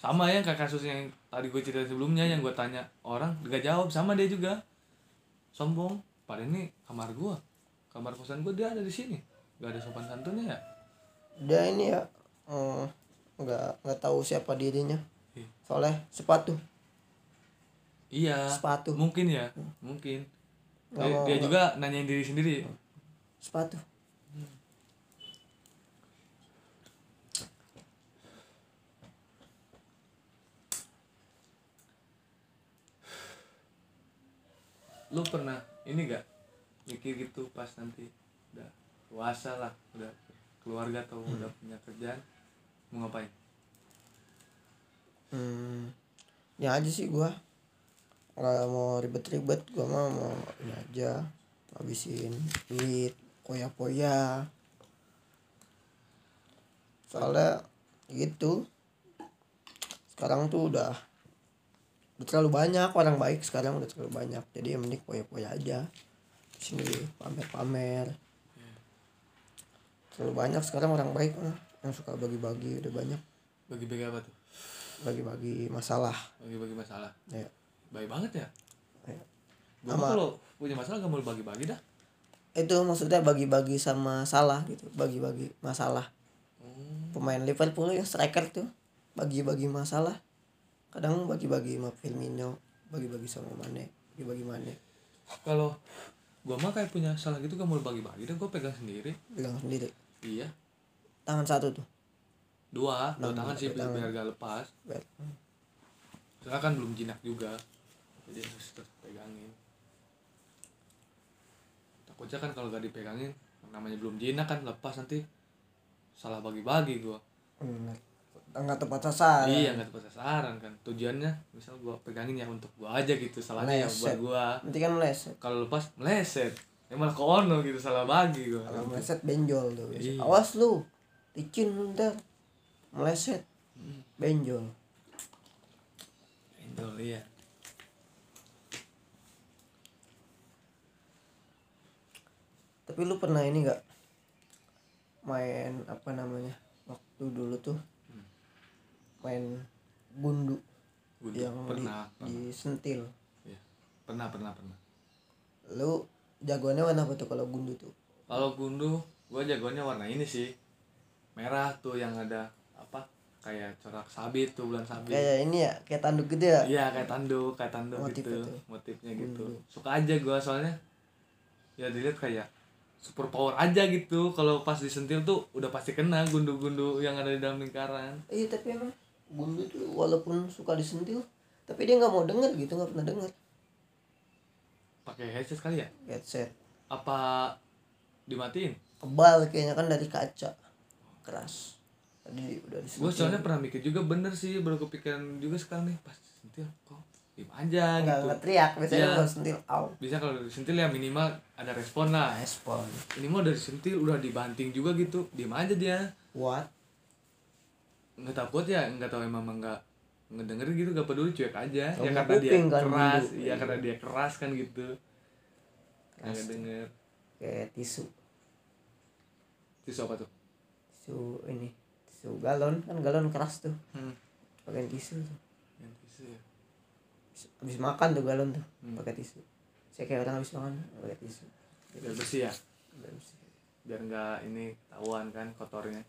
B: Sama ya kayak kasus yang tadi gue cerita sebelumnya yang gua tanya orang gak jawab sama dia juga. Sombong. Padahal ini kamar gua. Kamar kosan gua dia ada di sini. Gak ada sopan santunnya ya.
A: dia ini ya eh, nggak nggak tahu siapa dirinya
B: Iya.
A: soalnya sepatu
B: Iya.
A: Sepatu.
B: Mungkin ya. Mungkin. Dia,
A: Nggak mau-
B: dia juga nanyain diri sendiri.
A: sepatu
B: lu pernah ini gak mikir gitu pas nanti udah puasa lah udah keluarga atau udah punya kerjaan mau ngapain
A: hmm, ini aja sih gua nggak mau ribet-ribet gua mah mau ini aja habisin duit poya-poya soalnya gitu sekarang tuh udah udah terlalu banyak orang baik sekarang udah terlalu banyak jadi ya mending poya-poya aja sini pamer-pamer terlalu banyak sekarang orang baik mah, yang suka bagi-bagi udah banyak
B: bagi-bagi apa tuh
A: bagi-bagi masalah
B: bagi-bagi masalah
A: ya
B: baik banget ya
A: ya.
B: gua mah
A: Sama-
B: kalau punya masalah gak mau bagi-bagi dah
A: itu maksudnya bagi-bagi sama salah gitu bagi-bagi masalah pemain Liverpool yang striker tuh bagi-bagi masalah kadang bagi-bagi sama Firmino bagi-bagi sama Mane bagi-bagi Mane
B: kalau gua mah kayak punya salah gitu gak mau bagi-bagi dah gua pegang sendiri
A: bilang sendiri
B: iya
A: tangan satu tuh
B: dua dua
A: Nah,
B: tangan sih
A: tangan.
B: biar gak lepas
A: Bet.
B: Soalnya kan belum jinak juga Jadi harus terus pegangin Takutnya kan kalau gak dipegangin Namanya belum jinak kan lepas nanti Salah bagi-bagi gua
A: Bener. nggak tepat sasaran
B: Iya gak tepat sasaran kan Tujuannya misal gua pegangin ya untuk gua aja gitu Salahnya ya buat
A: Meleset.
B: gua
A: nanti kan meleset
B: Kalau lepas meleset Ya malah ke ono gitu salah bagi gua
A: kalau meleset benjol tuh
B: Iya.
A: awas lu licin lu ntar meleset
B: Hmm.
A: benjol
B: Endol iya
A: tapi lu pernah ini nggak main apa namanya waktu dulu tuh main gundu
B: Gundu.
A: yang
B: Pernah,
A: di, disentil
B: Iya. Pernah pernah pernah
A: lu jagoannya warna apa tuh kalau gundu tuh
B: Kalau gundu, gue jagoannya warna ini sih. Merah tuh yang ada apa? Kayak corak sabit tuh bulan sabit.
A: kayak ini ya kayak tanduk gitu ya
B: Iya, kayak tanduk, kayak tanduk
A: Motif
B: gitu.
A: itu.
B: Motifnya gitu. Suka aja gua soalnya. Ya dilihat kayak super power aja gitu. Kalau pas disentil tuh udah pasti kena gundu-gundu yang ada di dalam lingkaran.
A: iya tapi emang gundu tuh walaupun suka disentil tapi dia nggak mau denger gitu nggak pernah denger
B: Pakai headset kali ya?
A: headset
B: Apa dimatiin?
A: kebal kayaknya kan dari kaca keras tadi udah
B: Gue
A: disentil
B: soalnya pernah mikir juga bener sih baru kepikiran juga sekarang nih pas disentil kok diem aja
A: nggak
B: gitu.
A: nggak teriak biasanya
B: Iya.
A: kalau sentil au
B: Bisa kalau disentil ya minimal ada respon lah.
A: respon
B: ini mah udah disentil udah dibanting juga gitu diem aja dia
A: what
B: nggak takut ya nggak tahu emang emang nggak ngedenger gitu gak peduli cuek aja
A: Nggak
B: ya
A: punya
B: karena dia
A: kuping kan
B: keras
A: dulu.
B: ya karena dia keras kan gitu nggak denger
A: kayak tisu
B: tisu apa tuh
A: tisu ini tisu galon kan galon keras tuh
B: hmm.
A: pakai tisu tuh
B: yang tisu ya.
A: Habis- habis makan tuh galon tuh
B: Hmm.
A: pakai tisu saya kayak orang habis makan pakai tisu
B: biar bersih ya
A: Biar bersih.
B: biar nggak ini ketahuan kan kotornya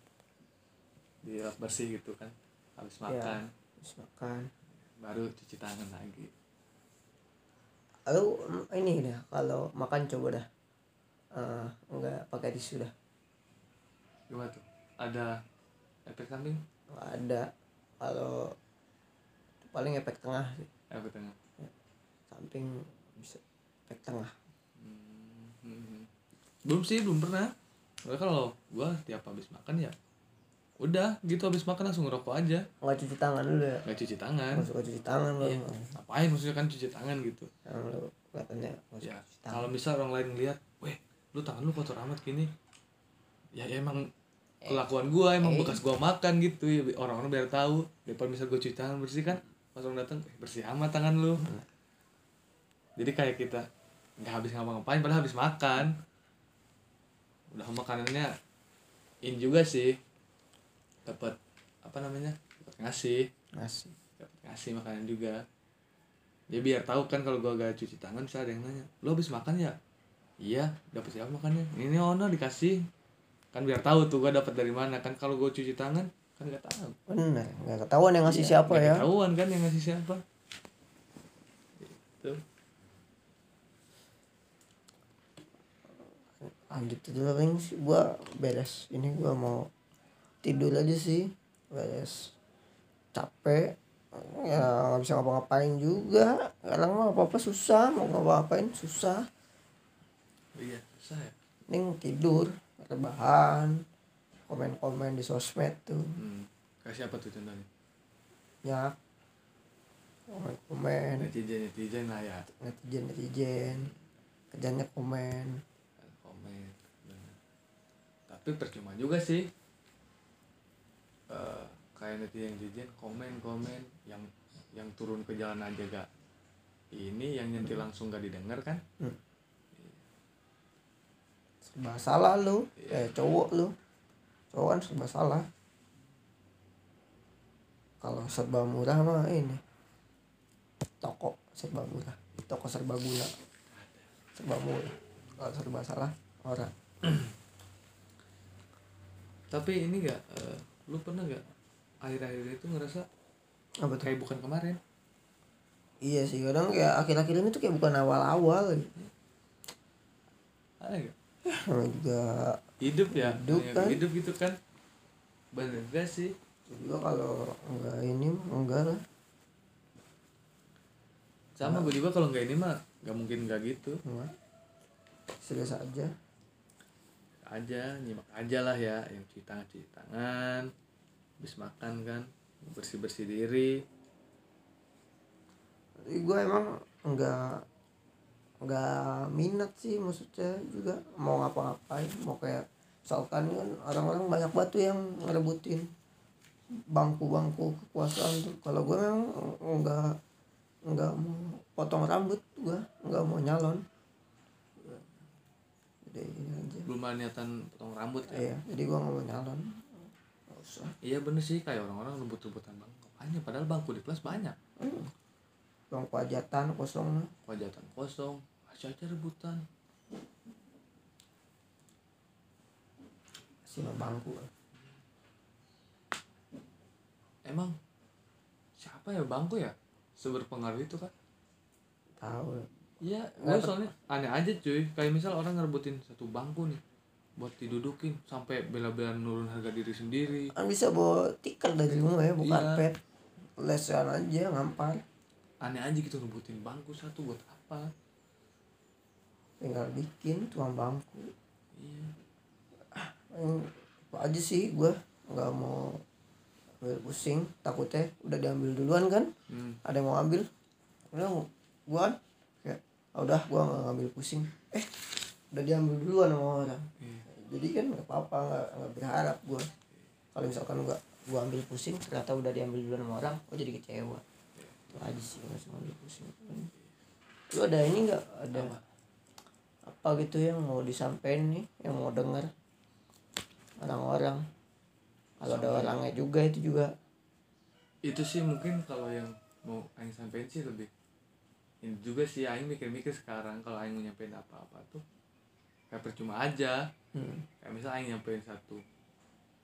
B: dilap bersih gitu kan habis
A: Iya.
B: makan
A: habis makan
B: baru cuci tangan lagi
A: lalu mm, ini dah kalau makan coba dah Eh, nggak pakai tisu dah
B: gimana tuh ada efek samping
A: nggak ada kalau paling efek tengah sih
B: efek tengah
A: samping bisa efek tengah
B: Hmm. Belum sih, belum pernah. Soalnya kalau gua tiap habis makan ya udah gitu habis makan langsung ngerokok aja,
A: nggak cuci tangan dulu ya
B: nggak cuci tangan.
A: nggak suka cuci tangan lo
B: Kan? Iya. Ngapain maksudnya kan cuci tangan gitu.
A: tangan lo kelihatannya nggak suka
B: Ya,
A: cuci tangan
B: kalau misal orang lain ngeliat, "Weh, lu tangan lu kotor amat gini." Ya, ya emang kelakuan gua emang
A: Eh.
B: bekas gua makan gitu ya bi- orang-orang biar tahu daripada misal gua cuci tangan bersih kan pas orang datang "Eh, bersih amat tangan lu jadi kayak kita nggak habis ngapa-ngapain padahal habis makan udah makanannya in juga sih dapat apa namanya dapat ngasih
A: ngasih
B: dapat ngasih makanan juga dia biar tahu kan kalau gua gak cuci tangan bisa ada yang nanya lo habis makan ya iya dapat siapa makannya ini ono dikasih kan biar tahu tuh gua dapat dari mana kan kalau gua cuci tangan kan nggak tahu
A: bener nggak ketahuan yang ngasih siapa
B: Nggak
A: ya
B: Iya, ketahuan kan yang ngasih siapa gitu
A: lanjut tidur paling sih gua beres ini gua mau tidur aja sih beres capek ya nggak bisa ngapa-ngapain juga kadang mah apa-apa susah mau ngapa-ngapain susah
B: iya susah ya
A: Mending tidur rebahan komen-komen di sosmed tuh
B: hmm. kayak siapa tuh contohnya
A: nyak komen-komen
B: netizen netizen lah ya
A: netizen netizen kerjanya komen
B: komen bener. tapi percuma juga sih Eh, kayak netizen netizen komen komen yang yang turun ke jalan aja gak ini yang nyentil langsung gak didengar kan
A: serba salah lu
B: Iya.
A: kayak cowok lu cowok kan serba salah kalau serba murah mah ini toko serba murah toko serba guna serba murah kalau serba salah orang
B: tapi ini gak eh, lu pernah gak akhir-akhir itu ngerasa
A: apa tuh
B: kayak bukan kemarin
A: iya sih kadang kayak akhir-akhir ini tuh kayak bukan awal-awal gitu.
B: ada gak
A: Namanya juga
B: hidup ya
A: Hidup
B: Ya,
A: kan.
B: hidup gitu kan bener gak sih
A: juga kalau enggak ini mah enggak lah Nah.
B: sama gue juga kalau nggak ini mah nggak mungkin nggak gitu
A: enggak serius aja
B: aja nyimak aja lah ya yang cuci tangan cuci tangan habis makan kan bersih bersih diri
A: gue emang nggak nggak minat sih maksudnya juga mau ngapa-ngapain mau kayak misalkan kan orang-orang banyak batu yang ngerebutin bangku-bangku kekuasaan tuh kalau gue memang nggak nggak mau potong rambut gue nggak mau nyalon jadi ini aja
B: belum ada niatan potong rambut ya
A: iya jadi gue nggak mau nyalon nggak usah
B: iya bener sih kayak orang orang rebut rebutan bangku hanya padahal bangku di kelas banyak
A: bangku ajatan kosong lah.
B: wajatan kosong masih aja rebutan
A: sih bangku
B: emang siapa ya bangku ya seberpengaruh itu kan
A: tahu lah.
B: Iya, gue
A: Nggak per-
B: soalnya aneh aja cuy. Kayak misal orang ngerebutin satu bangku nih buat didudukin sampai bela-belaan nurun harga diri sendiri.
A: kan bisa bawa tikar dari rumah ya bukan
B: Iya.
A: pet lesan aja ngampar
B: Aneh aja gitu ngerebutin bangku satu buat apa?
A: tinggal bikin tuang bangku
B: Iya.
A: yang itu aja sih gue nggak mau ambil pusing takutnya udah diambil duluan kan
B: Hmm.
A: ada yang mau ambil udah gue kayak "Ah, udah gue nggak ngambil pusing eh udah diambil duluan sama orang
B: Iya.
A: jadi kan nggak apa-apa nggak nggak berharap gue kalau misalkan gue gue ambil pusing ternyata udah diambil duluan sama orang gue jadi kecewa itu aja sih gue cuma ambil pusing lu ada ini nggak ada apa? gitu yang mau disampaikan nih yang mau denger orang-orang kalau ada orangnya juga itu juga
B: Itu sih mungkin kalau yang mau aing sampein sih lebih ini juga sih aing mikir-mikir sekarang kalau aing mau nyampein apa-apa tuh kayak percuma aja.
A: hmm.
B: kayak misal Aing nyampein satu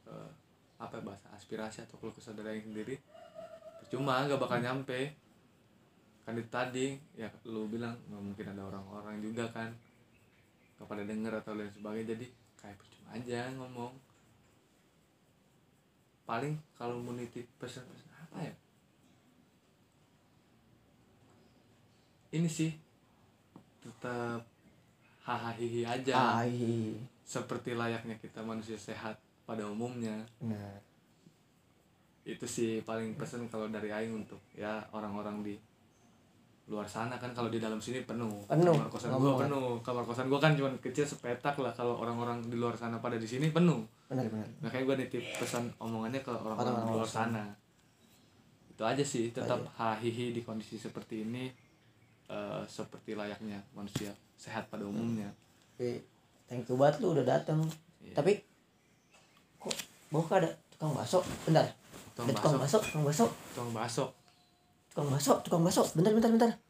B: eh, apa ya bahasa aspirasi atau keluh kesah dari Aing sendiri percuma gak bakal nyampe kan itu tadi ya lu bilang nggak mungkin ada orang-orang juga kan gak pada denger atau lain sebagainya jadi kayak percuma aja ngomong paling kalau mau nitip pesan-pesan apa ya ini sih tetap hahaha aja
A: Ah, Ai.
B: seperti layaknya kita manusia sehat pada umumnya
A: nah
B: itu sih paling pesan kalau dari Aing untuk ya orang-orang di luar sana kan kalau di dalam sini penuh
A: Penuh,
B: kamar kosan
A: nggak
B: gua
A: boleh.
B: penuh kamar kosan gua kan cuman kecil sepetak lah kalau orang-orang di luar sana pada di sini penuh
A: benar-benar
B: makanya gua nitip pesan omongannya ke orang-orang
A: Orang-orang
B: di luar
A: luar sana. Iya.
B: sana itu aja sih tetap
A: aja.
B: hahihi di kondisi seperti ini eh, seperti layaknya manusia sehat pada umumnya
A: tapi thank you banget lu udah datang
B: Iya.
A: Hmm. tapi kok bawah kah ada tukang bakso bentar
B: Tukang
A: ada tukang bakso
B: bakso.
A: tukang bakso
B: tukang bakso
A: tukang bakso tukang bakso bentar bentar bentar